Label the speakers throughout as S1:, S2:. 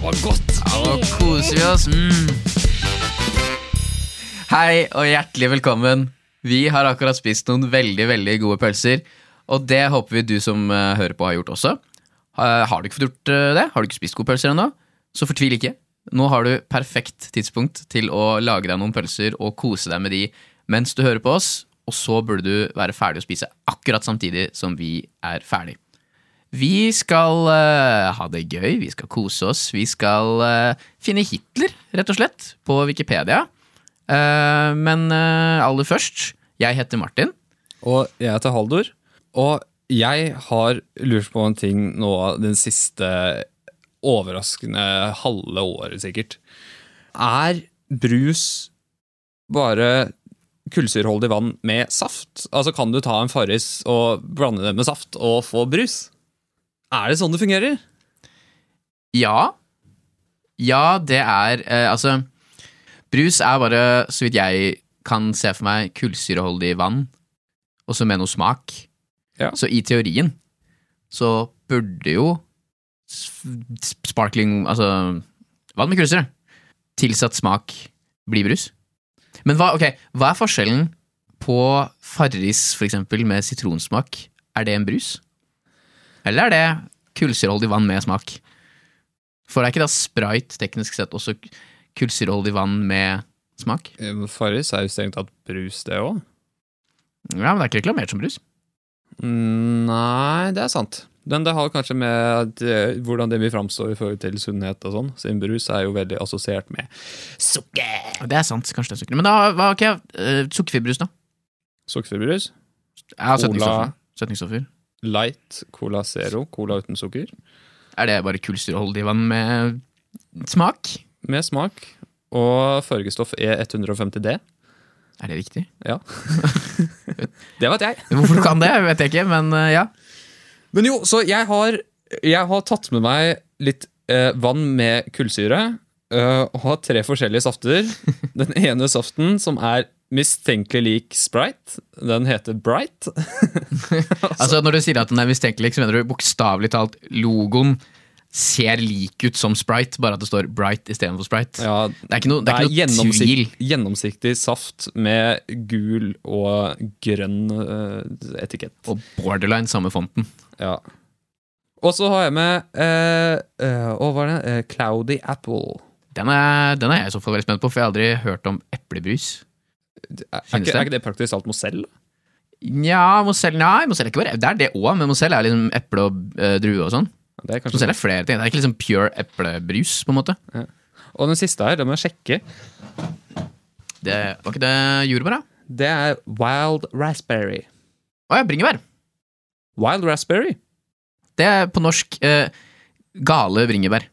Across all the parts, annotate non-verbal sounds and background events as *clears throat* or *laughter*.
S1: var godt.
S2: Ja, nå koser vi oss. Mm. Hei og hjertelig velkommen. Vi har akkurat spist noen veldig veldig gode pølser, og det håper vi du som eh, hører på, har gjort også. Eh, har du ikke fått gjort eh, det? Har du ikke spist gode pølser ennå? Så fortvil ikke. Nå har du perfekt tidspunkt til å lage deg noen pølser og kose deg med de mens du hører på oss, og så burde du være ferdig å spise akkurat samtidig som vi er ferdig. Vi skal eh, ha det gøy, vi skal kose oss, vi skal eh, finne Hitler, rett og slett, på Wikipedia. Eh, men eh, aller først, jeg heter Martin.
S1: Og jeg heter Haldor. Og jeg har lurt på en ting nå den siste overraskende halve året, sikkert. Er brus bare kullsyreholdig vann med saft? Altså Kan du ta en Farris og blande det med saft og få brus? Er det sånn det fungerer?
S2: Ja. Ja, det er eh, Altså, brus er bare, så vidt jeg kan se for meg, kullsyreholdig vann, og så med noe smak.
S1: Ja.
S2: Så i teorien så burde jo s- sparkling Altså vann med kullsyre tilsatt smak bli brus. Men hva, ok, hva er forskjellen på Farris for eksempel med sitronsmak? Er det en brus? Eller er det kullsyreholdig vann med smak? For det er ikke da sprite teknisk sett også kullsyreholdig vann med smak?
S1: Farris er jo strengt tatt brus, det òg.
S2: Ja, men det er ikke reklamert som brus.
S1: Nei, det er sant. Men det har kanskje med det, hvordan det vil framstå i forhold til sunnhet og sånn, siden brus er jo veldig assosiert med sukker.
S2: Det er sant, kanskje det er sukker. Men da, hva, ok, eh, sukkerfribrus da?
S1: Sukkerbrus,
S2: Ja,
S1: Cola.
S2: søtningsstoffer. Søtningsstoffer.
S1: light, cola zero, cola uten sukker,
S2: Er det bare kullsyreholdig vann med smak?
S1: med smak og fargestoff E E150D.
S2: Er det riktig?
S1: Ja. *laughs* det vet jeg.
S2: Hvorfor du kan det, vet jeg ikke, men eh, ja.
S1: Men jo, så jeg har, jeg har tatt med meg litt eh, vann med kullsyre. eh, og har tre forskjellige safter. Den ene saften, som er mistenkelig lik Sprite, den heter Bright.
S2: Altså, når du sier at den er mistenkelig, så mener du bokstavelig talt logoen ser lik ut som Sprite, bare at det står Bright istedenfor Sprite.
S1: Ja,
S2: Det er ikke noe, det er ikke noe tvil.
S1: gjennomsikt, gjennomsiktig saft med gul og grønn eh, etikett.
S2: Og borderline samme fonten.
S1: Ja. Og så har jeg med eh, eh, Hva var det? Eh, Cloudy Apple.
S2: Den er, den er jeg i så fall veldig spent på, for jeg har aldri hørt om eplebrus.
S1: Er, er,
S2: Finnes
S1: ikke,
S2: det?
S1: er ikke det praktisk talt Mozell?
S2: Nja, Mozell Nei, Mozell er ikke bare Det er det òg, men Mozell er liksom eple og eh, drue og sånn.
S1: Det er kanskje
S2: Mozell er flere ting. Det er ikke liksom pure eplebrus, på en måte.
S1: Og den siste her, den må jeg sjekke.
S2: Det Var ikke det jordbær, da?
S1: Det er Wild Raspberry.
S2: Å ja, bringebær.
S1: Wild Raspberry?
S2: Det er på norsk eh, gale bringebær.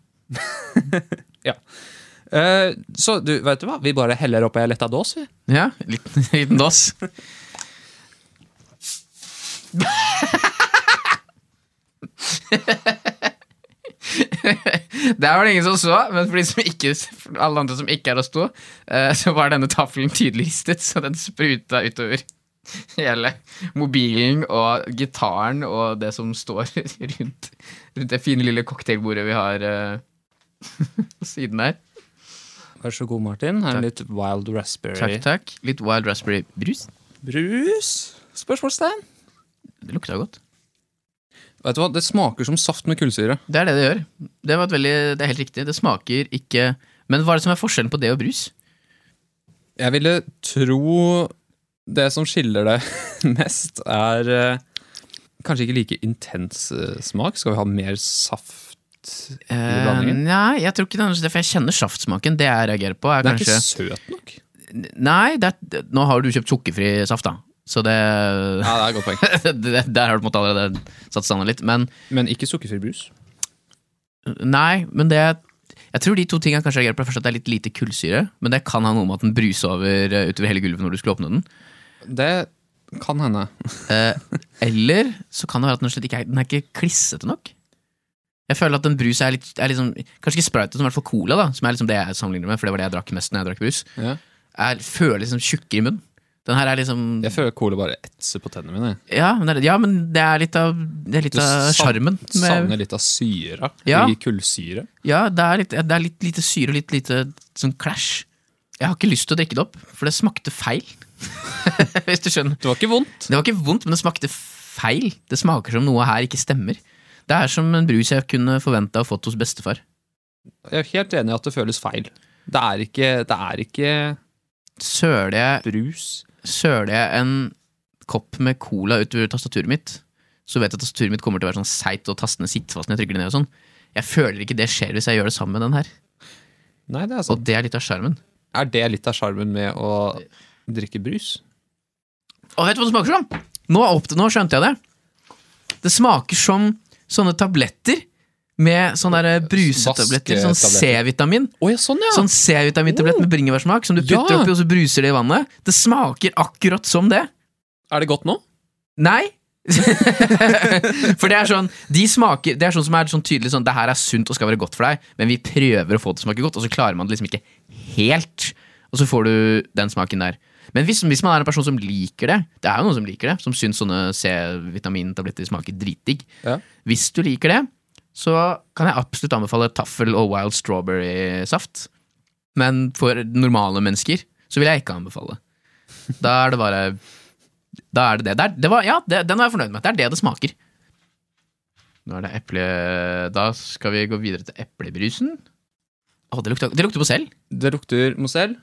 S1: Eh, så du, vet du hva? Vi bare heller oppi ei letta dås, vi.
S2: Ja, liten, *laughs* liten dås. Der var det ingen som så, men for, de som ikke, for alle andre som ikke er oss to, eh, så var denne tafelen tydelig ristet, så den spruta utover hele mobilen og gitaren og det som står *laughs* rundt, rundt det fine lille cocktailbordet vi har eh, *laughs* på siden her.
S1: Vær så god, Martin. Her er litt Wild
S2: Takk,
S1: Raspberry.
S2: takk. Litt wild raspberry brus.
S1: Brus? Spørsmålstegn.
S2: Det lukta godt.
S1: Vet du hva? Det smaker som saft med kullsyre.
S2: Det er det det gjør. Det, var et veldig, det er helt riktig. Det smaker ikke Men hva er det som er forskjellen på det og brus?
S1: Jeg ville tro det som skiller det *laughs* mest, er eh, kanskje ikke like intens eh, smak. Skal vi ha mer saft i blandingen?
S2: Eh, nei, jeg tror ikke det. er det, For jeg kjenner saftsmaken. Det jeg reagerer på, er
S1: Den er
S2: kanskje
S1: ikke søt nok.
S2: Nei, det er, nå har du kjøpt sukkerfri saft, da. Så det,
S1: Ja, det er et godt poeng.
S2: *laughs* det Der har du på en måte allerede satt standarden litt. Men
S1: Men ikke sukkerfri brus.
S2: nei, men det Jeg tror de to tingene kanskje reagerer på er først at det er litt lite kullsyre. Men det kan ha noe med at den bruser over eh, utover hele gulvet når du skulle åpne den.
S1: Det kan hende.
S2: Eh, eller så kan det være at den, rett og slett ikke er, den er ikke klissete nok. Jeg føler at en brus er litt er liksom, Kanskje ikke sprite, men i hvert fall cola, da, som er liksom det jeg sammenligner med, for det var det jeg drakk mest når jeg drakk brus.
S1: Ja.
S2: Jeg føler liksom tjukkere i munnen. Den Den her er liksom
S1: Jeg føler cola bare etser på tennene mine.
S2: Ja, men det er, ja, men det er litt av Det er litt av
S1: savn-
S2: sjarmen. med-
S1: savner litt av syra
S2: Ja.
S1: i kullsyre.
S2: Ja, det er, litt, det er litt lite syre og litt lite sånn clash. Jeg har ikke lyst til å drikke det opp, for det smakte feil. *laughs* Hvis du skjønner.
S1: Det var ikke vondt.
S2: Det var ikke vondt, men det smakte feil. Det smaker som noe her ikke stemmer. Det er som en brus jeg kunne forventa å fått hos bestefar.
S1: Jeg er helt enig i at det føles feil. Det er ikke, det er ikke
S2: Søler jeg,
S1: brus.
S2: søler jeg en kopp med cola utover tastaturet mitt, så vet jeg at tastaturet mitt kommer til å være sånn seigt og tastene sitter fast når jeg trykker det ned og sånn. Jeg føler ikke det skjer hvis jeg gjør det sammen med den her.
S1: Nei, det er
S2: Og
S1: sant.
S2: det er litt av sjarmen.
S1: Er det litt av sjarmen med å drikke brus?
S2: Og vet du hva det smaker som? Nå, er opp til, nå skjønte jeg det. Det smaker som sånne tabletter med sånne der brusetabletter. Sånn
S1: Vasketabletter.
S2: C-vitamin.
S1: Å ja, sånn ja!
S2: Sånn C-vitamintablett med bringebærsmak som du putter
S1: Ja.
S2: oppi, og så bruser det i vannet. Det smaker akkurat som det.
S1: Er det godt nå?
S2: Nei! *laughs* for det er sånn De smaker Det er sånn som er sånn tydelig sånn Det her er sunt og skal være godt for deg, men vi prøver å få det til å smake godt, og så klarer man det liksom ikke helt. Og så får du den smaken der. Men hvis, hvis man er en person som liker det Det er jo noen som liker det, som syns sånne C-vitamintabletter smaker dritdigg.
S1: Ja.
S2: Hvis du liker det, så kan jeg absolutt anbefale taffel og wild strawberry-saft. Men for normale mennesker så vil jeg ikke anbefale. Da er det bare Da er det det. det, er, det var, ja, det, den var jeg fornøyd med. Det er det det smaker. Nå er det eple... Da skal vi gå videre til eplebrusen. Å, det lukter, det lukter Mozell.
S1: Det lukter Mozell.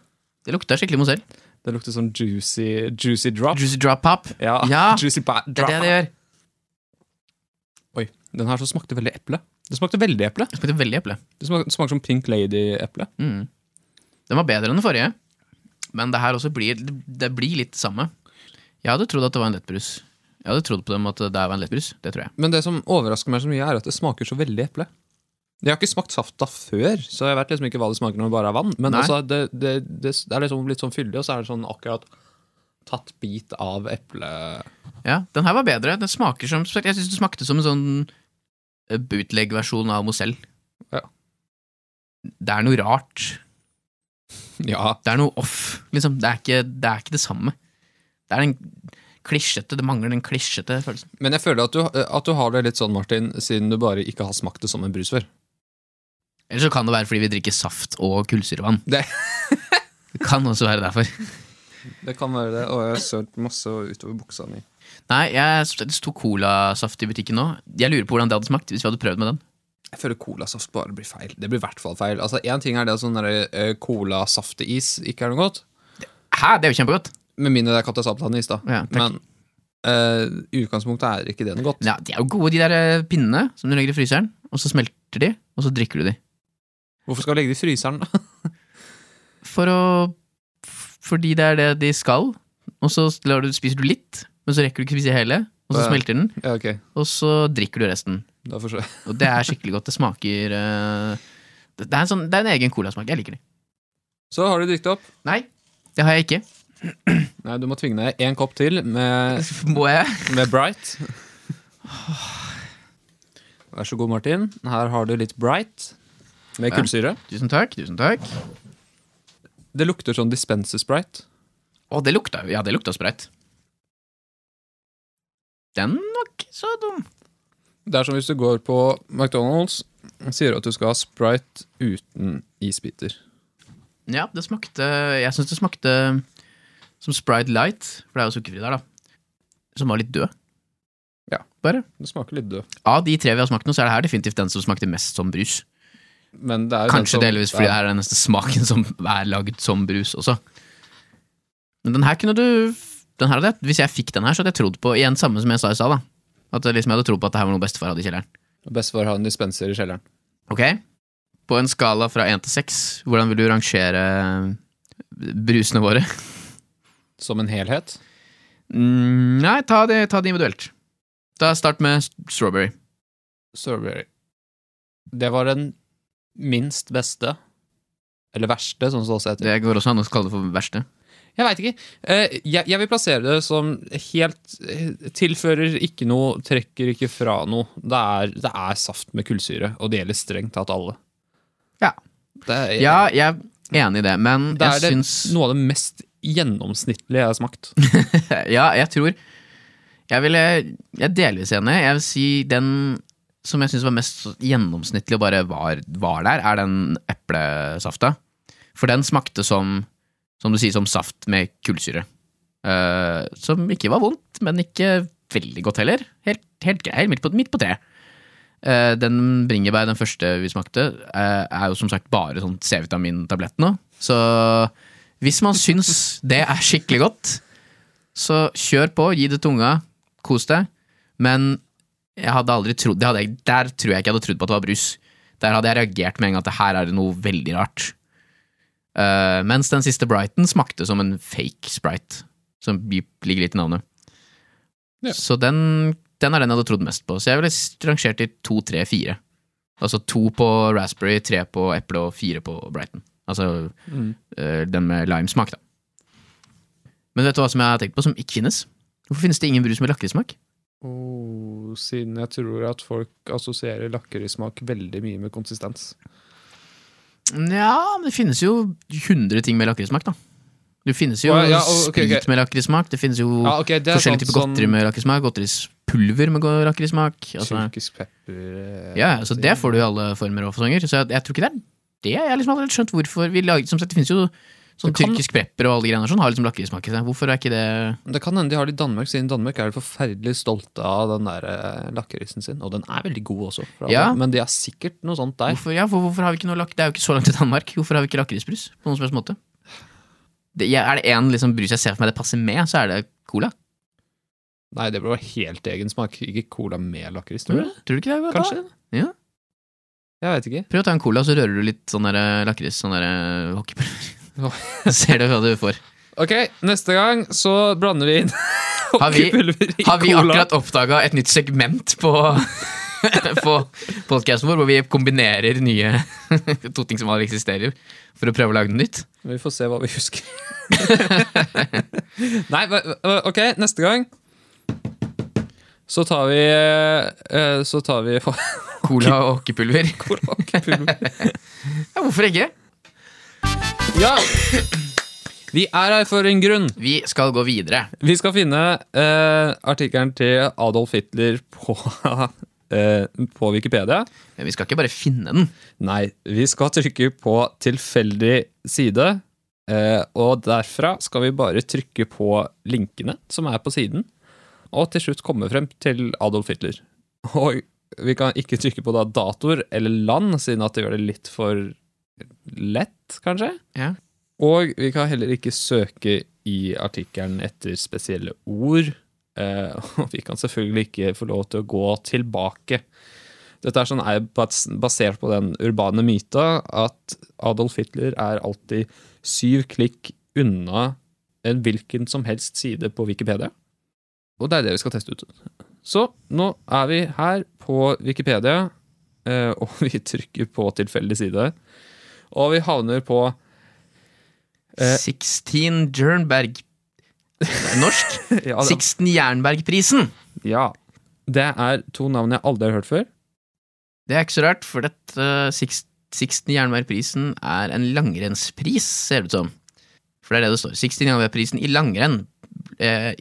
S2: Det lukter skikkelig Mozell.
S1: Det lukter sånn juicy, juicy drop.
S2: Juicy drop pop.
S1: Ja,
S2: Ja,
S1: juicy ba-
S2: Det
S1: drop.
S2: er det det gjør.
S1: Oi, den her så smakte veldig eple. Det smakte veldig eple.
S2: Det smakte veldig eple.
S1: Det smakte, smaker som Pink Lady-eple.
S2: Mm. Den var bedre enn den forrige, men det her også blir, det blir litt det samme. Jeg hadde trodd at det var en lettbrus. Jeg hadde trodd på dem at det der var en lettbrus. Det tror jeg.
S1: Men det som overrasker meg så mye, er at det smaker så veldig eple. Jeg har ikke smakt safta før, så jeg vet liksom ikke hva det smaker når det bare er vann. Men
S2: Nei.
S1: altså, det, det, det, det er liksom litt sånn fyldig, og så er det sånn akkurat tatt bit av eple...
S2: Ja, Den her var bedre. Den smaker som Jeg syns det smakte som en sånn eh, bootleg-versjon av Mozell.
S1: Ja.
S2: Det er noe rart.
S1: Ja,
S2: Det er noe off. Liksom. Det, er ikke, det er ikke det samme. Det er den klisjete Det mangler den klisjete følelsen.
S1: men jeg føler at du, at du har det litt sånn, Martin, siden du bare ikke har smakt det som en brus før.
S2: Eller så kan det være fordi vi drikker saft og kullsyrevann.
S1: Det-
S2: *laughs* det kan også være derfor.
S1: Det kan være det, og jeg har sølt masse utover buksa mi.
S2: Nei, jeg sto colasaft i butikken nå. Jeg lurer på hvordan det hadde smakt hvis vi hadde prøvd med den.
S1: Jeg føler colasaft bare blir feil. Det blir i hvert fall feil. Altså, Én ting er det at sånn der, eh, colasafteis ikke er noe godt,
S2: Hæ, det er jo kjempegodt!
S1: med mindre det er katasabtanis, da.
S2: Ja, takk.
S1: Men eh, i utgangspunktet er ikke det noe godt.
S2: Ja, de er jo gode, de der eh, pinnene som du legger i fryseren. Og så smelter de, og så drikker du de.
S1: Hvorfor skal du legge det i fryseren, da?
S2: For å f- Fordi det er det de skal. Og så lar du, spiser du litt, men så rekker du ikke spise hele. Og så
S1: Ja.
S2: smelter den,
S1: *laughs* Ja, ok.
S2: og så drikker du resten.
S1: Da forstår jeg.
S2: Og det er skikkelig godt. Det smaker eh, det, det, er en sånn, det er en egen colasmak. Jeg liker det.
S1: Så har du drukket opp.
S2: Nei, det har jeg ikke. *laughs*
S1: Nei, du må tvinge deg én kopp til med,
S2: Må jeg?
S1: med Bright. *laughs* Vær så god, Martin. Her har du litt Bright med
S2: Ja.
S1: kullsyre.
S2: Tusen takk. tusen takk
S1: Det lukter sånn dispenser-sprite.
S2: Å, det lukta Ja, det lukta sprøyt. Den var ikke så dum.
S1: Det er som hvis du går på McDonald's og sier at du skal ha Sprite uten isbiter.
S2: Ja, det smakte Jeg syns det smakte som Sprite Light, for det er jo sukkerfri der, da. Som var litt død.
S1: Ja.
S2: Bare.
S1: Det smaker litt død.
S2: Av de tre vi har smakt nå, så er det her definitivt den som smakte mest som brus.
S1: Men det er jo den
S2: Kanskje
S1: som-
S2: delvis fordi det her er den neste smaken som er lagd som brus også. Men den her kunne du den her hadde, jeg- Hvis jeg fikk den her, så hadde jeg trodd på Igjen samme som jeg sa i stad, da. At jeg liksom, jeg hadde trodd på at det her var noe bestefar hadde i kjelleren.
S1: Bestefar har en dispenser i kjelleren.
S2: Ok? På en skala fra én til seks, hvordan vil du rangere brusene våre?
S1: Som en helhet.
S2: Mm, nei, ta det, ta det individuelt. Da Start med s- strawberry.
S1: Strawberry. Det var den minst beste. Eller verste, sånn som det også heter.
S2: Det går også an å kalle det for verste.
S1: Jeg veit ikke. Eh, Jeg, jeg vil plassere det som helt eh, Tilfører ikke noe, trekker ikke fra noe. Det er, det er saft med kullsyre, og det gjelder strengt tatt alle.
S2: Ja.
S1: Det er,
S2: Ja, jeg er enig i det, men
S1: Det er
S2: jeg
S1: det,
S2: syns
S1: noe av det mest gjennomsnittlig jeg har smakt.
S2: *laughs* Ja, jeg tror Jeg ville Jeg er delvis enig. Jeg vil si den som jeg syns var mest gjennomsnittlig og bare var, var der, er den eplesafta. For den smakte som Som du sier, som saft med kullsyre. Eh, som ikke var vondt, men ikke veldig godt heller. Helt, helt grei, midt på, midt på treet. Eh, den bringebær, den første vi smakte, eh, er jo som sagt bare sånn C-vitamintablett nå. Så hvis man syns det er skikkelig godt, så kjør på, gi det tunga, kos deg. Men jeg hadde aldri trodd det hadde jeg, Der tror jeg ikke jeg hadde trodd på at det var brus. Der hadde jeg reagert med en gang at det her er det noe veldig rart. Eh, mens den siste Brighton smakte som en fake sprite, som bi- ligger litt i navnet.
S1: Ja.
S2: Så den, den er den jeg hadde trodd mest på. Så jeg ville s- rangert i to, tre, fire. Altså to på raspberry, tre på eple og fire på Brighton. Altså
S1: Mm.
S2: eh, den med limesmak, da. Men vet du hva som jeg har tenkt på, som ikke finnes? Hvorfor finnes det ingen brus med lakrismak?
S1: Oh, siden jeg tror at folk assosierer lakrismak veldig mye med konsistens.
S2: Nja, men det finnes jo 100 ting med lakrismak, da. Det finnes jo
S1: Å, ja, å, ok, ok.
S2: sprit med lakrismak, det finnes jo
S1: Ja, ok, det er
S2: Oh,
S1: sant,
S2: forskjellige typer godteri
S1: sånn
S2: med lakrismak, godterispulver med go- lakrismak. Altså,
S1: Tyrkisk pepper eh,
S2: ja, så det får du i alle former og fasonger. Så jeg, jeg tror ikke det er det. Jeg har liksom aldri helt skjønt hvorfor vi lager Som sagt, det finnes jo sånn
S1: Det kan-
S2: tyrkisk pepper og alle de greiene der sånn, har liksom lakrismak i seg. Hvorfor er ikke det
S1: Det kan hende de har det i Danmark, siden Danmark er forferdelig stolte av den der eh, lakrisen sin. Og den er veldig god også, for
S2: Ja.
S1: alle, men de er sikkert noe sånt der.
S2: Hvorfor, ja, hvor, hvorfor har vi ikke noe lak... Det er jo ikke så langt til Danmark. Hvorfor har vi ikke lakrisbrus på noen som helst måte? Det, ja, er det én liksom, brus jeg ser for meg det passer med, så er det cola.
S1: Nei, det blir jo helt egen smak. Ikke cola med lakris, tror
S2: Tror du,
S1: jeg.
S2: det? tror du ikke det?
S1: Kanskje?
S2: Ja.
S1: Jeg vet ikke.
S2: Prøv å ta en cola, så rører du litt sånn der lakris, sånn der
S1: Åh.
S2: hockeypulver. *laughs* Ser du hva du *laughs* får.
S1: Ok, neste gang så blander vi inn *laughs*
S2: Har vi-
S1: hockeypulver i
S2: Har vi
S1: cola.
S2: akkurat oppdaga et nytt segment på, *laughs* på podkasten vår, hvor vi kombinerer nye *laughs* to ting som aldri eksisterer, for å prøve å lage noe nytt?
S1: Vi får se hva vi husker. *laughs* Nei, hva- hva- ok, neste gang så tar vi eh, Så tar vi *laughs*
S2: Cola og hockeypulver?
S1: cola og pulver.
S2: Ja, hvorfor ikke?
S1: Ja! Vi er her for en grunn.
S2: Vi skal gå videre.
S1: Vi skal finne eh, artikkelen til Adolf Hitler på, *laughs* eh, på Wikipedia.
S2: Men vi skal ikke bare finne den.
S1: Nei, vi skal trykke på tilfeldig side. eh, Og derfra skal vi bare trykke på linkene som er på siden, og til slutt komme frem til Adolf Hitler. Og vi kan ikke trykke på da datoer eller land, siden at det gjør det litt for lett, kanskje.
S2: Ja.
S1: Og vi kan heller ikke søke i artikkelen etter spesielle ord. eh, Og vi kan selvfølgelig ikke få lov til å gå tilbake. Dette er, sånn, er bas- basert på den urbane myta at Adolf Hitler er alltid syv klikk unna en hvilken som helst side på Wikipedia. Og det er det vi skal teste ut. Så nå er vi her på Wikipedia, eh, og *laughs* vi trykker på tilfeldig side. Og vi havner på *laughs* Eh,
S2: 16 Jernberg
S1: *laughs*
S2: Norsk.
S1: ja, det-
S2: 16 Jernbergprisen.
S1: Ja. Det er to navn jeg aldri har hørt før.
S2: Det er ikke så rart, for dette eh, Sixt- 16 Jernbergprisen er en langrennspris, ser det ut som. For det er det det står. 16 Jernbergprisen i langrenn ble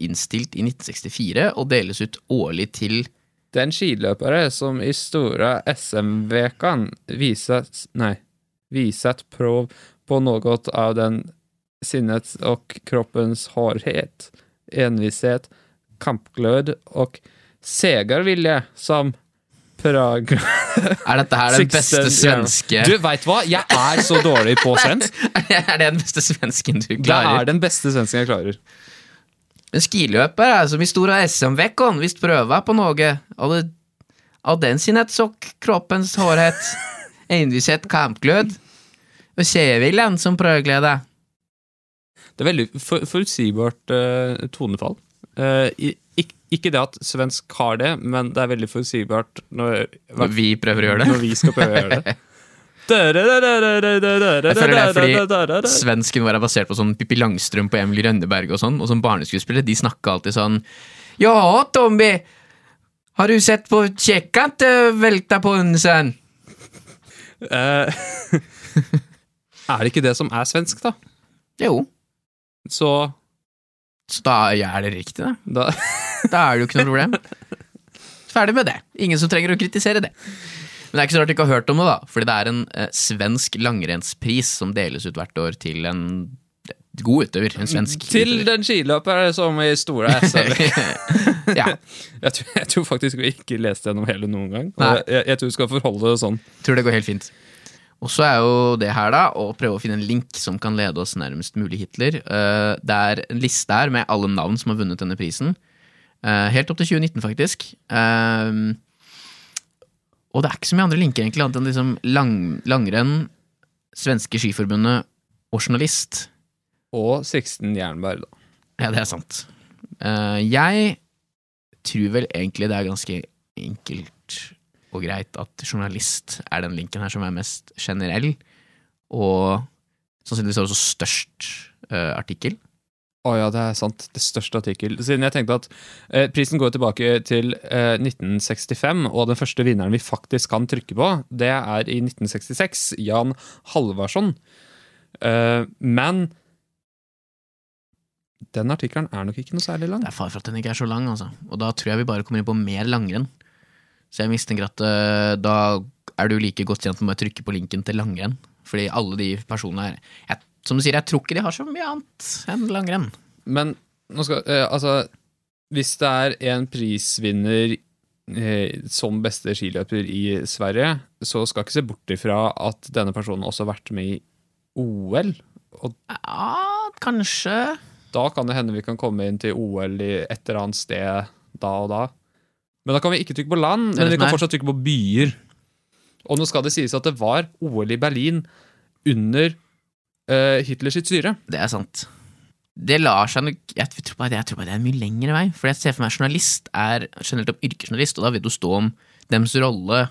S2: innstilt i 1964 og deles ut årlig til
S1: Det er en skiløpere som i store SM-vekan viset Nei. Viset prov på noe av den sinnets og kroppens hardhet, envishet, kampglød og segervilje som prag...
S2: Er dette her den
S1: 16
S2: beste
S1: Jernberg-
S2: svenske
S1: Du, veit du hva? Jeg er så dårlig på svensk.
S2: *laughs* Er det den beste svensken du
S1: Det er
S2: klarer?
S1: den beste svensken jeg klarer.
S2: En skiløper er som i stora SM-veckan visst prøva på noe av, det, av den sinnets og kroppens hårdhet, envishet, kampglød og segerviljen som prøgleder.
S1: Det er veldig for, forutsigbart eh, tonefall. Eh, i, ikk- ikke det at svensk har det, men det er veldig forutsigbart når,
S2: Når vi prøver å gjøre det.
S1: når vi skal prøve å gjøre
S2: *laughs*
S1: det. Jeg
S2: føler det er fordi Svensken vår er basert på sånn Pippi Langstrøm på Emily Rønneberg og sånn, og som barneskuespillere, de snakka alltid sånn Ja, Tommy, har du sett på Kjekkat eh, velta på unsen?
S1: Eh, *laughs* Er det ikke det som er svensk, da?
S2: Jo.
S1: Så
S2: Så da ja, er det riktig, da. *laughs*
S1: da
S2: Da er det jo ikke noe problem. Ferdig med det. Ingen som trenger å kritisere det. Men det er ikke så rart du ikke har hørt om det, da. Fordi det er en eh, svensk langrennspris som deles ut hvert år til en god utøver. En svensk
S1: Til den skiløperen som i store SR.
S2: *laughs* utøver. ja.
S1: Jeg tror, jeg tror faktisk vi ikke leste gjennom hele noen gang. Og
S2: Nei.
S1: Jeg, jeg tror vi skal forholde det sånn.
S2: Tror det går helt fint. Og så er jo det her, da, å prøve å finne en link som kan lede oss nærmest mulig Hitler. Eh, Det er en liste her med alle navn som har vunnet denne prisen. Eh, Helt opp til 2019, faktisk. Eh, Og det er ikke så mye andre linker, egentlig, annet enn liksom lang, langrenn, Svenske Skiforbundet og journalist.
S1: Og Sixten Jernberg, da.
S2: Ja, det er sant. Eh, Jeg tror vel egentlig det er ganske enkelt og greit at journalist er den linken her som er mest generell, og sannsynligvis også størst eh, artikkel.
S1: Å ja, det er sant. Det største artikkel. Siden jeg tenkte at eh, prisen går tilbake til eh, 1965, og den første vinneren vi faktisk kan trykke på, det er i 1966. Jan Halvarsson. Eh, men den artikkelen er nok ikke noe særlig lang.
S2: Det er far for at den ikke er så lang, altså. Og da tror jeg vi bare kommer inn på mer langrenn. Så jeg mistenker at eh, da er du like godt tjent med å bare trykke på linken til langrenn. Fordi alle de personene her jeg, Som du sier, jeg tror ikke de har så mye annet enn langrenn.
S1: Men nå skal, eh, altså, hvis det er en prisvinner eh, som beste skiløper i Sverige, så skal ikke se bort ifra at denne personen også har vært med i OL. Og
S2: Ja, kanskje
S1: da kan det hende vi kan komme inn til OL i et eller annet sted da og da. Men da kan vi ikke trykke på land,
S2: Det er
S1: men vi
S2: det som
S1: kan
S2: er.
S1: fortsatt trykke på byer. Og nå skal det sies at det var OL i Berlin under eh, Hitlers sitt styre.
S2: Det er sant. Det lar seg nok Jeg tror bare det, jeg tror bare det er en mye lengre vei. For jeg ser for meg journalist er generelt om yrkesjournalist, og da vil du stå om deres rolle,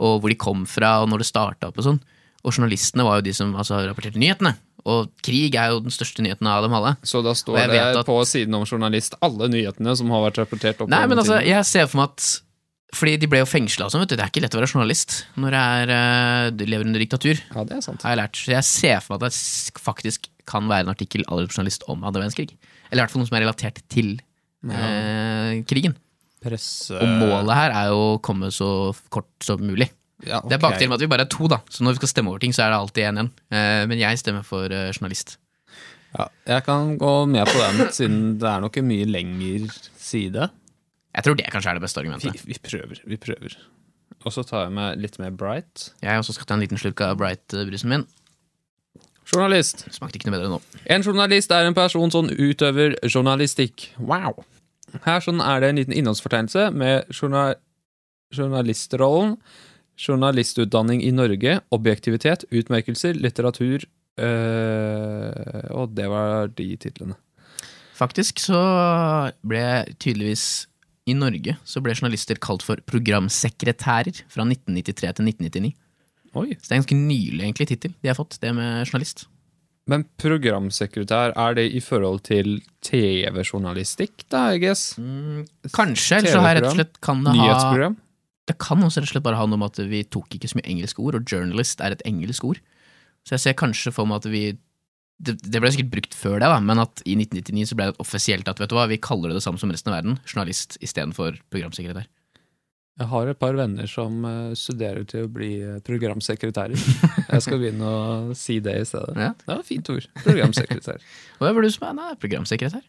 S2: og hvor de kom fra, og når det starta opp og sånn. Og journalistene var jo de som altså, rapporterte nyhetene. Og krig er jo den største nyheten av dem alle.
S1: Så da
S2: Og
S1: står
S2: jeg
S1: det
S2: vet at-
S1: på siden om journalist alle nyhetene som har vært rapportert opp.
S2: Nei,
S1: gjennom
S2: men altså,
S1: tiden.
S2: jeg ser for meg at Fordi de ble jo fengsla og sånn, vet du. Det er ikke lett å være journalist når det er, eh, du lever under diktatur.
S1: Ja, det er sant.
S2: har jeg lært. Så jeg ser for meg at det s- faktisk kan være en artikkel allerede på journalist om andre verdenskrig. Eller i hvert fall noe som er relatert til eh, krigen.
S1: Presse
S2: Og målet her er jo å komme så kort som mulig.
S1: ja,
S2: Det er bakdelen med at vi bare er to, da. Så når vi skal stemme over ting, så er det alltid én igjen. Eh, men jeg stemmer for eh, journalist.
S1: ja, Jeg kan gå med på den, siden det er nok en mye lengre side.
S2: Jeg tror det kanskje er det beste
S1: Vi,
S2: argumentet.
S1: vi prøver, vi prøver. Og så tar jeg med litt mer Bright.
S2: Jeg også skal ta en liten slurk av Bright-brusen min.
S1: Journalist.
S2: Smakte ikke noe bedre nå.
S1: En journalist er en person som utøver journalistikk. Wow. Her sånn er det en liten innholdsfortegnelse med journa- journalistrollen, journalistutdanning i Norge, objektivitet, utmerkelser, litteratur øh, Og det var de titlene.
S2: Faktisk så ble tydeligvis i Norge så ble journalister kalt for programsekretærer fra 1993 til 1999.
S1: Oi.
S2: Så det er en ganske nylig egentlig tittel de har fått, det med journalist.
S1: Men programsekretær, er det i forhold til TV-journalistikk, da, I guess?
S2: Kanskje, eller så har jeg rett og slett kan det ha
S1: Nyhetsprogram?
S2: Det kan også rett og slett bare handle om at vi tok ikke så mye engelske ord, og journalist er et engelsk ord. Så jeg ser kanskje for meg at vi det, det ble sikkert brukt før det, da, men at i 1999 så ble det offisielt at vet du hva, vi kaller det det samme som resten av verden, journalist istedenfor programsekretær.
S1: Jeg har et par venner som eh, studerer til å bli eh, *laughs* programsekretærer. Jeg skal begynne å si det i stedet.
S2: Ja.
S1: Det var et fint ord. Programsekretær.
S2: Og jeg ble du som er, nei, programsekretær.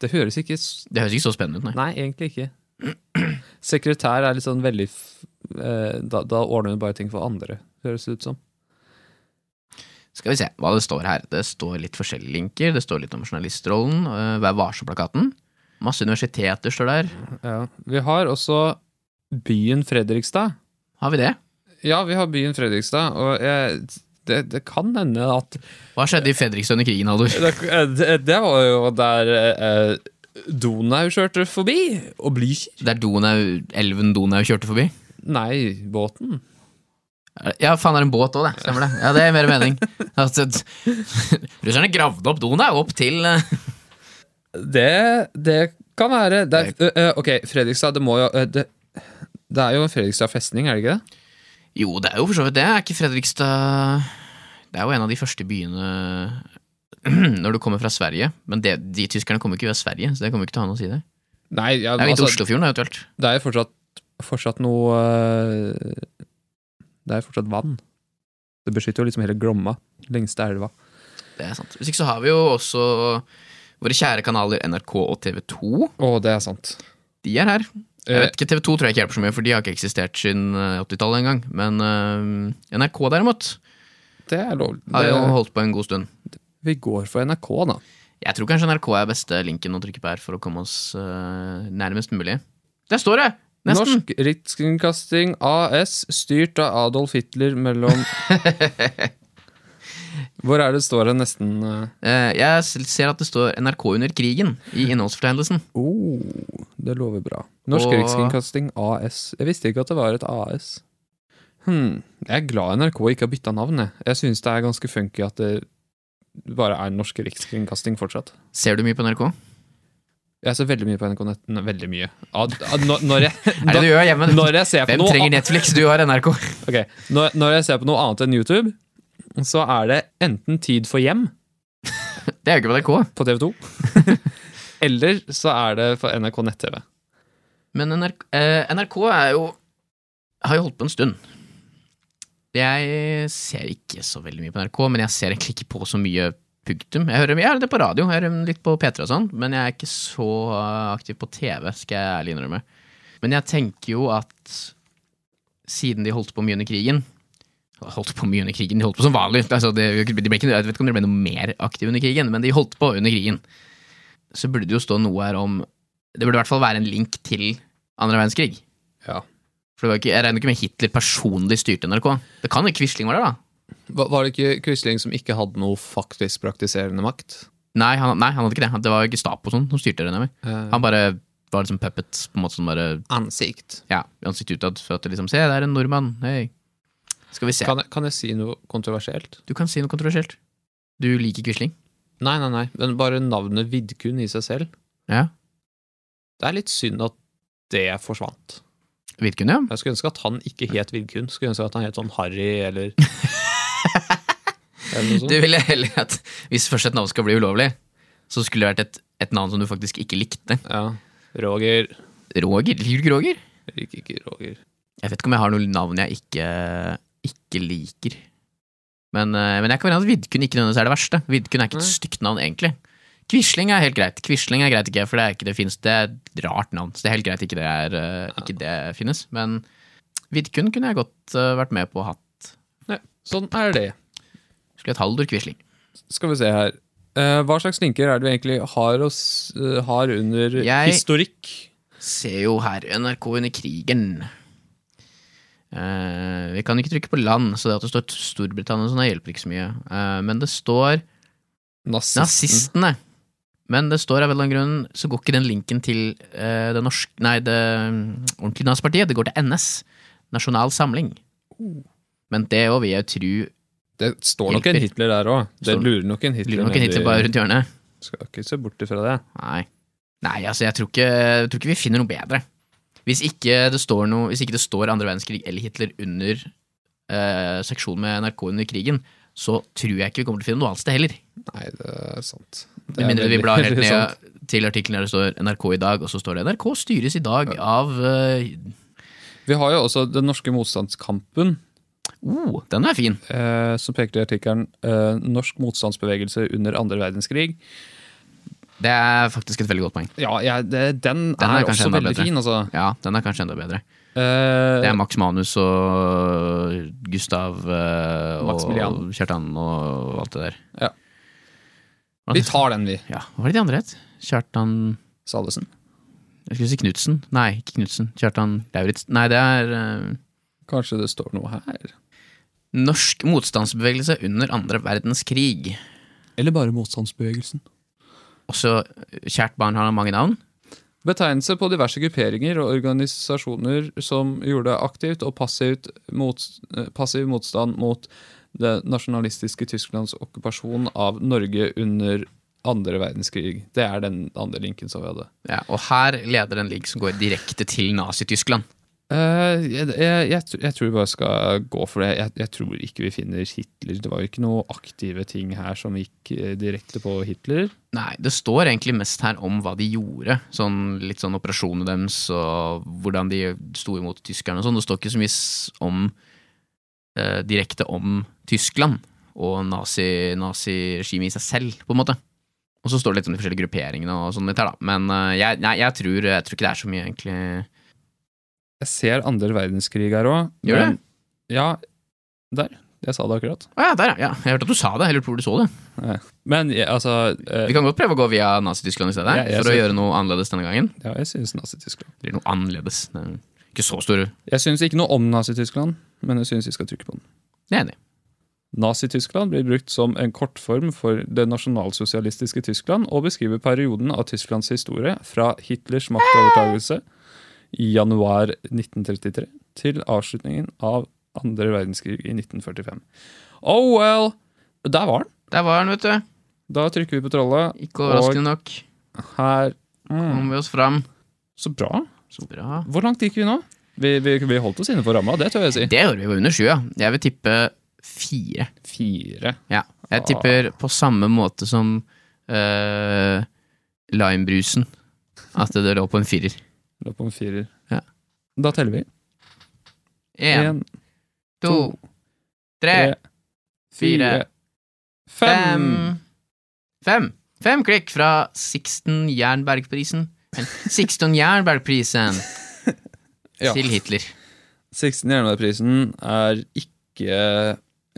S1: Det høres ikke s-
S2: Det høres ikke så spennende ut, nei.
S1: Nei, egentlig ikke. Sekretær er litt sånn veldig f- eh, da, da ordner du bare ting for andre, høres det ut som.
S2: Skal vi se hva det står her. Det står litt forskjellige linker. Det står litt om journalistrollen. øh, Vær varsom-plakaten. Masse universiteter står der.
S1: Ja. Vi har også byen Fredrikstad.
S2: Har vi det?
S1: Ja, vi har byen Fredrikstad, og jeg, det, det kan hende at
S2: Hva skjedde i Fredrikstad under krigen, Halvor?
S1: det, det, det var jo der eh, Donau kjørte forbi, og Blücher.
S2: Der Donau, elven Donau kjørte forbi?
S1: Nei, båten.
S2: Ja, faen, det er en båt òg, det. Stemmer det. Ja, det gir mer mening. Altså, t- *laughs* Russerne gravde opp Donau opp til eh,
S1: Det, det kan være det er, ø, ø, Ok, Fredrikstad, det må jo ø, det, det er jo en Fredrikstad festning, er det ikke det?
S2: Jo, det er jo for så vidt det. Er ikke Fredrikstad Det er jo en av de første byene *clears throat* når du kommer fra Sverige. Men det, de tyskerne kommer ikke fra Sverige, så det kommer ikke til å ha noe å si der.
S1: Nei, ja,
S2: Det er litt
S1: altså,
S2: Oslofjorden, eventuelt.
S1: det er jo fortsatt, fortsatt noe eh, Det er fortsatt vann. Det beskytter jo liksom hele Glomma. Lengste elva.
S2: Det er sant. Hvis ikke så har vi jo også våre kjære kanaler NRK og TV 2.
S1: Å, det er sant.
S2: De er her. Jeg
S1: Eh,
S2: vet ikke, TV 2 tror jeg ikke hjelper så mye, for de har ikke eksistert siden eh, 80-tallet engang. Men eh, NRK derimot
S1: Det er lovlig.
S2: har jo
S1: Det-
S2: holdt på en god stund.
S1: Vi går for NRK, da.
S2: Jeg tror kanskje NRK er beste linken å trykke på her for å komme oss eh, nærmest mulig. Der står det! Nesten!
S1: Norsk Rikskringkasting AS, styrt av Adolf Hitler mellom Hvor er det står det nesten eh,
S2: Eh, jeg s- ser at det står NRK under krigen i innholdsfortegnelsen.
S1: Oh, det lover bra. Norsk
S2: Og-
S1: Rikskringkasting AS. Jeg visste ikke at det var et AS. Hm, jeg er glad NRK ikke har bytta navn. Jeg, jeg syns det er ganske funky at det bare er Norsk Rikskringkasting fortsatt.
S2: Ser du mye på NRK?
S1: Jeg ser veldig mye på NRK Nett. Nei, Veldig mye. Ja, d- ja, når- når, jeg,
S2: Er det du gjør hjemme?
S1: da, når jeg ser på
S2: Hvem
S1: noe
S2: trenger Netflix? Du har
S1: *laughs*
S2: NRK.
S1: Ok, når, når jeg ser på noe annet enn YouTube, så er det enten Tid for hjem
S2: Det er jo ikke på NRK.
S1: på TV2, *laughs* eller så er det for NRK nett-TV.
S2: Men NRK, eh, NRK er jo har jo holdt på en stund. Jeg ser ikke så veldig mye på NRK, men jeg ser egentlig ikke på så mye punktum. Jeg hører, jeg hører det på radio, jeg hører litt på P3 og sånn, men jeg er ikke så eh, aktiv på TV, skal jeg ærlig innrømme. Men jeg tenker jo at siden de holdt på mye under krigen Holdt på mye under krigen, de holdt på som vanlig. Altså, det, de ble ikke, jeg vet ikke om de ble noe mer aktive under krigen, men de holdt på under krigen. Så burde det jo stå noe her om Det burde i hvert fall være en link til andre verdenskrig.
S1: Ja.
S2: For det var jo ikke, jeg regner ikke med Hitler personlig styrte NRK. Det kan jo Quisling var der, da.
S1: Var, var det ikke Quisling som ikke hadde noe faktisk praktiserende makt?
S2: Nei, han, nei, han hadde ikke det. Det var jo Gestapo og sånn som styrte det. nemlig.
S1: Eh,
S2: Han bare var liksom puppet, på en måte som bare
S1: Ansikt.
S2: ja, ansikt utad. For at det liksom, Se, det er en nordmann. Hei. Skal vi se.
S1: Kan jeg, kan jeg si noe kontroversielt?
S2: Du kan si noe kontroversielt. Du liker Quisling?
S1: Nei, nei, nei. Men bare navnet Vidkun i seg selv.
S2: Ja.
S1: Det er litt synd at det forsvant.
S2: Vidkun, ja.
S1: Jeg skulle ønske at han ikke het Vidkun. Skulle ønske at han het sånn Harry
S2: *laughs*
S1: eller Eller noe sånt.
S2: Du ville heller at hvis først et navn skal bli ulovlig, så skulle det vært et, et navn som du faktisk ikke likte.
S1: Ja. Roger.
S2: Roger? Liker du ikke Roger?
S1: Liker ikke Roger.
S2: Jeg vet ikke om jeg har noe navn jeg ikke, ikke liker. Men, eh, men jeg kan være enig i at Vidkun ikke nødvendigvis er det verste. Vidkun er ikke et
S1: Nei.
S2: stygt navn, egentlig. Quisling er helt greit. Quisling er greit ikke, for det er ikke det finnes. Det er et rart navn, så det er helt greit ikke det, er, eh, ikke det finnes. Men Vidkun kunne jeg godt eh, vært med på å hatt.
S1: Nei, sånn er det.
S2: Skulle hett Haldor Quisling.
S1: Skal vi se her. Eh, hva slags linker er det vi egentlig har, oss, eh, har under
S2: Jeg-
S1: historikk?
S2: Ser jo her NRK under krigen. Eh, vi kan ikke trykke på land, så det at det står Storbritannia og sånn, det hjelper ikke så mye. Eh, men det står
S1: Nazisten.
S2: Nazistene. Men det står av en eller annen grunn, så går ikke den linken til eh, det norske Nei, det mm, ordentlige nazistpartiet. Det går til NS. Nasjonal Samling. Men det òg vil jeg tro
S1: Det står nok en
S2: Hjelper.
S1: Hitler der òg. Det
S2: Står-
S1: lurer nok en Hitler.
S2: Lurer nok en
S1: nedi-
S2: Hitler bare rundt hjørnet.
S1: Skal ikke se bort ifra det.
S2: Nei. Nei, altså, jeg tror ikke, jeg tror ikke vi finner noe bedre. Hvis ikke det står noe Hvis ikke det står andre verdenskrig eller Hitler under eh, seksjonen med NRK under krigen, så tror jeg ikke vi kommer til å finne noe annet sted heller.
S1: Nei, det er sant. Det
S2: Med
S1: er
S2: mindre vi
S1: veldig-
S2: blar helt
S1: veldig sant.
S2: ned til artikkelen der det står NRK i dag, og så står det NRK styres i dag av eh,
S1: Vi har jo også den norske motstandskampen,
S2: Oh, den er fin!
S1: eh, som peker i artikkelen eh, 'Norsk motstandsbevegelse under andre verdenskrig'.
S2: Det er faktisk et veldig godt poeng.
S1: Ja, jeg- det, den,
S2: Den er
S1: er, også
S2: kanskje enda
S1: veldig
S2: bedre.
S1: fin, altså.
S2: Ja, den er kanskje enda bedre.
S1: Eh,
S2: Det er Max Manus og Gustav eh, og
S1: Maximilian.
S2: Kjartan og alt det der.
S1: Ja. vi tar den, vi.
S2: Ja, Hva var det de andre het? Kjartan
S1: Salvesen.
S2: Jeg skulle si Knutsen. Nei, ikke Knutsen. Kjartan Lauritzen. Nei, det er eh,
S1: Kanskje det står noe her.
S2: Norsk motstandsbevegelse under andre verdenskrig.
S1: Eller bare motstandsbevegelsen.
S2: Også Kjært barn har mange navn.
S1: Betegnelse på diverse grupperinger og organisasjoner som gjorde aktivt og passivt mot, eh, passiv motstand mot det nasjonalistiske Tysklands okkupasjon av Norge under andre verdenskrig. Det er den andre linken som vi hadde.
S2: Ja, og her leder en link som går direkte til Nazi-Tyskland.
S1: Eh, jeg, jeg, jeg, tr- jeg tror vi bare skal gå for det. Jeg, jeg tror ikke vi finner Hitler. Det var jo ikke noe aktive ting her som gikk eh, direkte på Hitler.
S2: Nei, det står egentlig mest her om hva de gjorde. Sånn, litt sånn operasjonene deres og hvordan de sto imot tyskerne og sånn. Det står ikke så mye s- om eh, direkte om Tyskland og nazi- naziregimet i seg selv, på en måte. Og så står det litt om de forskjellige grupperingene og sånn litt her, da. Men eh, jeg, nei, jeg, tror, jeg tror ikke det er så mye, egentlig.
S1: Jeg ser andre verdenskrig her òg.
S2: Gjør det?
S1: Ja, der. Jeg sa det akkurat.
S2: Å ja, der, ja. ja. Jeg hørte at du sa det. Jeg lurte på hvor du så det.
S1: Men jeg, altså eh,
S2: Vi kan godt prøve å gå via Nazi-Tyskland i stedet,
S1: Ja, jeg
S2: for å
S1: ser-
S2: gjøre noe annerledes denne gangen.
S1: Ja, jeg syns Nazi-Tyskland.
S2: Eller noe annerledes. Det er Ikke så stor. Jeg
S1: Jeg syns ikke noe om Nazi-Tyskland, men jeg syns vi skal trykke på den.
S2: er enig.
S1: Nazi-Tyskland blir brukt som en kortform for det nasjonalsosialistiske Tyskland og beskriver perioden av Tysklands historie fra Hitlers maktovertagelse i januar 1933 til avslutningen av andre verdenskrig i 1945. Oh well! Der var den.
S2: Der var den, vet du.
S1: Da trykker vi på trollet.
S2: Ikke overraskende nok.
S1: Her.
S2: Kom vi oss fram.
S1: Så bra.
S2: Så bra.
S1: Hvor langt gikk vi nå? Vi, vi, vi holdt oss innenfor ramma, det tør jeg si.
S2: Det gjorde vi på under sju, ja. Jeg vil tippe fire.
S1: Fire.
S2: Ja. Jeg
S1: Ah.
S2: tipper på samme måte som eh, limebrusen. At det lå på en firer.
S1: Lå på en firer.
S2: Ja.
S1: Da teller vi.
S2: Én,
S1: En,
S2: to, tre,
S1: tre, fire,
S2: fire, fem. Fem. Fem klikk fra Sixten Jernbergprisen. Men Sixten Jernbergprisen
S1: *laughs* Ja.
S2: til Hitler.
S1: 16 Jernbaneprisen er ikke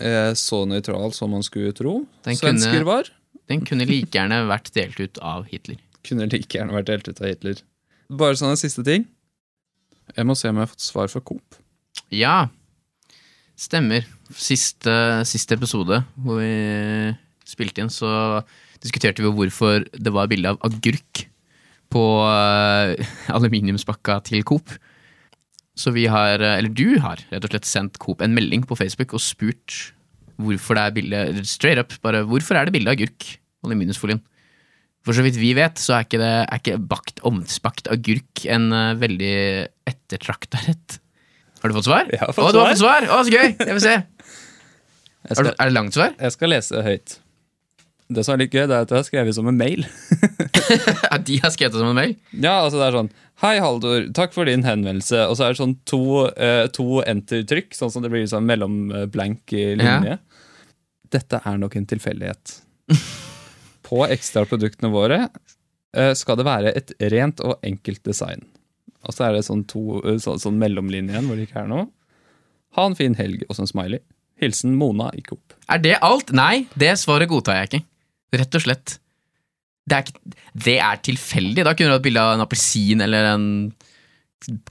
S1: eh, så nøytral som man skulle tro.
S2: Den
S1: Svensker
S2: kunne-
S1: var.
S2: Den kunne like gjerne vært delt ut av Hitler.
S1: Kunne like gjerne vært delt ut av Hitler. Bare sånn en siste ting. Jeg må se om jeg har fått svar fra Coop.
S2: Ja, stemmer. Siste, siste episode hvor vi spilte inn, så diskuterte vi hvorfor det var bilde av agurk på eh, aluminiumspakka til Coop. Så vi har, eh, eller du har, rett og slett sendt Coop en melding på Facebook og spurt hvorfor det er bilde eller Straight up, bare hvorfor er det bilde av agurk? Aluminiumsfolien. For så vidt vi vet, så er ikke, det, er ikke bakt ovnsbakt agurk en eh, veldig ettertrakta rett. Har du fått svar?
S1: Jeg har fått
S2: Å, du har fått svar! Å, så gøy! Jeg vil se.
S1: Jeg
S2: Er,
S1: skal,
S2: det- er det langt svar?
S1: jeg skal lese høyt. Det som er litt gøy, det er at jeg har skrevet som en mail.
S2: Ja, de har skrevet det som en mail?
S1: Ja, altså det er sånn Hei, Haldor. Takk for din henvendelse. Og så er det sånn to, eh, to enter-trykk, sånn som det blir sånn mellomblank eh, linje. Dette er nok en *laughs* tilfeldighet. På ekstraproduktene våre eh, skal det være et rent og enkelt design. Og så er det sånn, to, eh, så, sånn mellomlinje igjen, hvor det ikke er noe. Ha en fin helg, og så en smiley. Hilsen Mona i Coop.
S2: Er det alt? Nei, det svaret godtar jeg ikke. Rett og slett. Det er, ikke, det er tilfeldig. Da kunne du hatt bilde av en appelsin eller en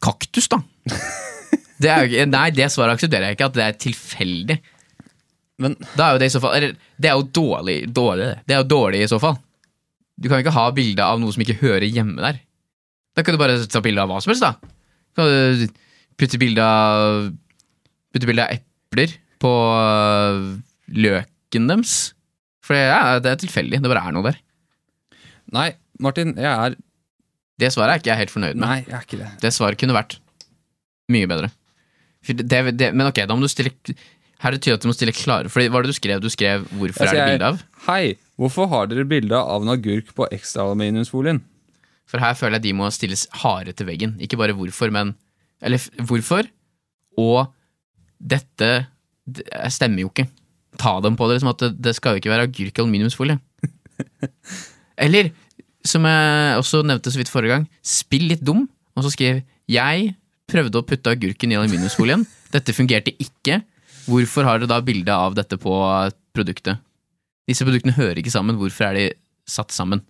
S2: kaktus, da. Det er, jo ikke- nei, det svaret aksepterer jeg ikke, at det er tilfeldig.
S1: Men
S2: Da er jo det i så fall eller, Det er jo dårlig, dårlig det. Det er jo dårlig i så fall. Du kan jo ikke ha bilde av noe som ikke hører hjemme der. Da kan du bare ta bilde av hva som helst, da. Kan du putte bilde av Putte bilde av epler på øh, løken deres. For det er, det er tilfeldig. Det bare er noe der.
S1: nei, Martin, jeg er
S2: Det svaret er ikke jeg helt fornøyd med.
S1: Nei, jeg er ikke det.
S2: Det svaret kunne vært mye bedre. For det, det, det, men ok, da må du stille Her er det tydelig at du må stille klare For hva var det du skrev? Du skrev 'Hvorfor
S1: Altså,
S2: er det
S1: jeg-
S2: bilde av?'
S1: Hei, hvorfor har dere bilde av en agurk på ekstraaluminiumsfolien?
S2: For her føler jeg de må stilles harde til veggen. Ikke bare hvorfor, men Eller f- hvorfor? Og dette d- stemmer jo ikke. Ta dem på det. Liksom at det, det skal jo ikke være agurk og aluminiumsfolie. Eller, som jeg også nevnte så vidt forrige gang, spill litt dum, og så skriv 'Jeg prøvde å putte agurken i aluminiumsfolien. Dette fungerte ikke. Hvorfor har dere da bilde av dette på produktet? Disse produktene hører ikke sammen. Hvorfor er de satt sammen?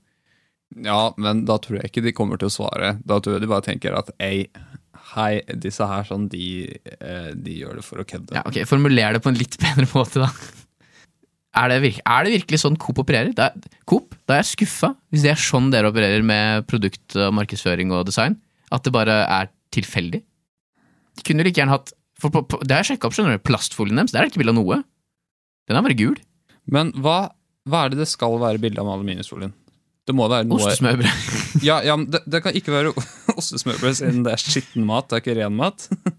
S1: Ja, men da tror jeg ikke de kommer til å svare. Da tror jeg de bare tenker at ei, hei, disse her sånn, de, eh, de gjør det for å kødde.
S2: Ja, ok, Formuler det på en litt bedre måte, da. Er det, virk- er det virkelig sånn Coop opererer? Da, Coop, da er jeg skuffa hvis det er sånn dere opererer med produkt, og markedsføring og design. At det bare er tilfeldig. De kunne jo like gjerne hatt for på, på, Det har jeg sjekka opp, skjønner du. Plastfolien deres, der er det ikke bilde av noe. Den er bare gul.
S1: Men hva, hva er det det skal være bilde av med aluminiumsfolien? Det må være noe
S2: Ostesmørbrød.
S1: Ja, ja men det, det kan ikke være *laughs* ostesmørbrød siden det er skitten mat, det er ikke ren mat.
S2: *laughs*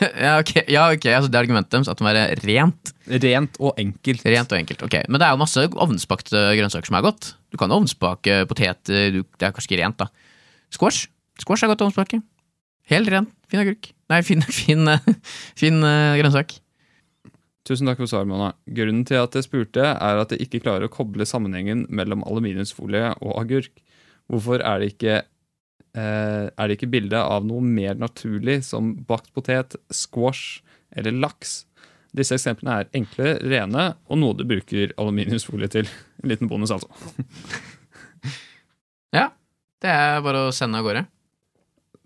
S2: ja, ok, ja, ok, altså Det er argumentet deres, at det må være rent.
S1: Rent og enkelt.
S2: Rent og enkelt, ok. Men det er jo masse ovnsbakte grønnsaker som er godt. Du kan ovnsbake eh, poteter, du, det er kanskje ikke rent, da. Squash Squash er godt å ovnsbake. Helt ren. Fin agurk. Nei, *laughs* fin, fin, eh, fin eh, grønnsak.
S1: Tusen takk for svaret, Mona. Grunnen til at jeg spurte, er at jeg ikke klarer å koble sammenhengen mellom aluminiumsfolie og agurk. Hvorfor er det ikke eh, er det ikke bilde av noe mer naturlig som bakt potet, squash eller laks? Disse eksemplene er enkle, rene og noe du bruker aluminiumsfolie til. En liten bonus, altså.
S2: Det er bare å sende av gårde.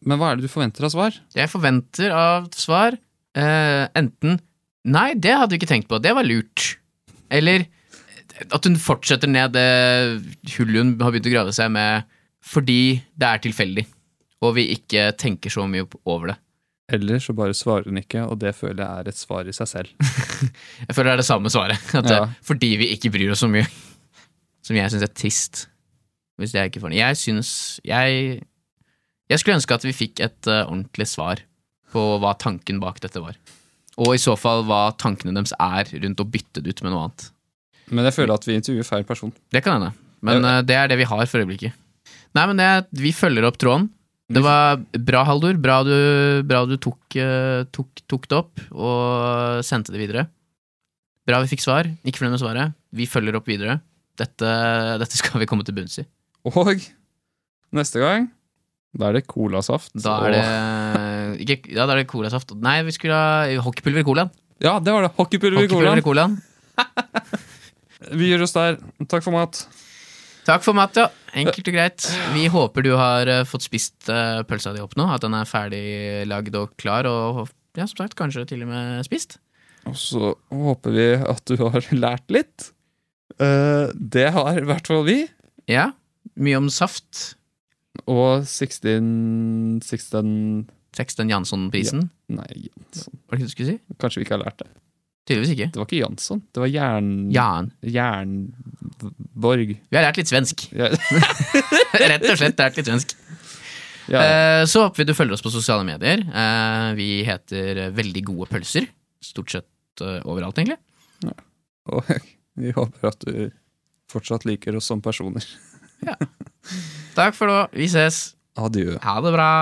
S1: Men hva er det du forventer av svar?
S2: Jeg forventer av svar eh, enten Nei, det hadde vi ikke tenkt på, det var lurt. Eller eh, at hun fortsetter ned det hullet hun har begynt å grave seg med fordi det er tilfeldig, og vi ikke tenker så mye opp- over det.
S1: Eller så bare svarer hun ikke, og det føler jeg er et svar i seg selv.
S2: Jeg føler det er det samme svaret. *laughs* At det,
S1: Ja.
S2: Fordi vi ikke bryr oss så mye. Som jeg syns er trist. Hvis jeg ikke får det. Jeg syns jeg, jeg skulle ønske at vi fikk et eh, ordentlig svar på hva tanken bak dette var. Og i så fall hva tankene deres er rundt å bytte det ut med noe annet.
S1: Men jeg føler at vi intervjuer feil person.
S2: Det kan hende. Men eh, det er det vi har for øyeblikket. Nei, men det, vi følger opp tråden. Det var bra, Haldor. Bra du, bra du tok, eh, tok, tok det opp og sendte det videre. Bra vi fikk svar. Ikke fornøyd med svaret. Vi følger opp videre. Dette, dette skal vi komme til bunns i.
S1: Og neste gang, da er det colasaft.
S2: Da er det ikke, Ja, da er det colasaft. Nei, vi skulle ha hockeypulver i colaen.
S1: Og... Ja, det var det. Hockeypulver i
S2: Hockeypulver i
S1: colaen.
S2: colaen.
S1: Vi gjør oss der. Takk for mat.
S2: Takk for mat, ja. Enkelt og greit. Vi håper du har eh, fått spist eh, pølsa di opp nå. At den er ferdig lagd og klar, og ja, som sagt, kanskje til og med spist.
S1: Og så håper vi at du har *laughs* lært litt. Eh, det har i hvert fall vi.
S2: Ja. Mye om saft.
S1: Og 16 16
S2: Sexten Jansson-prisen.
S1: Nei, Jansson.
S2: Var det ikke det du skulle si?
S1: Kanskje vi ikke har lært det.
S2: Tydeligvis ikke.
S1: Det var ikke Jansson. Det var Jern...
S2: Jan.
S1: Jernborg.
S2: Vi har lært litt svensk. *laughs*
S1: Ja,
S2: Rett og slett lært litt svensk.
S1: ja.
S2: Eh, Så håper vi du følger oss på sosiale medier. Eh, Vi heter Veldig gode pølser. Stort sett eh, overalt, egentlig.
S1: Og vi håper at du fortsatt liker oss som personer.
S2: Takk for nå. Vi ses.
S1: Adjø.
S2: Ha det bra.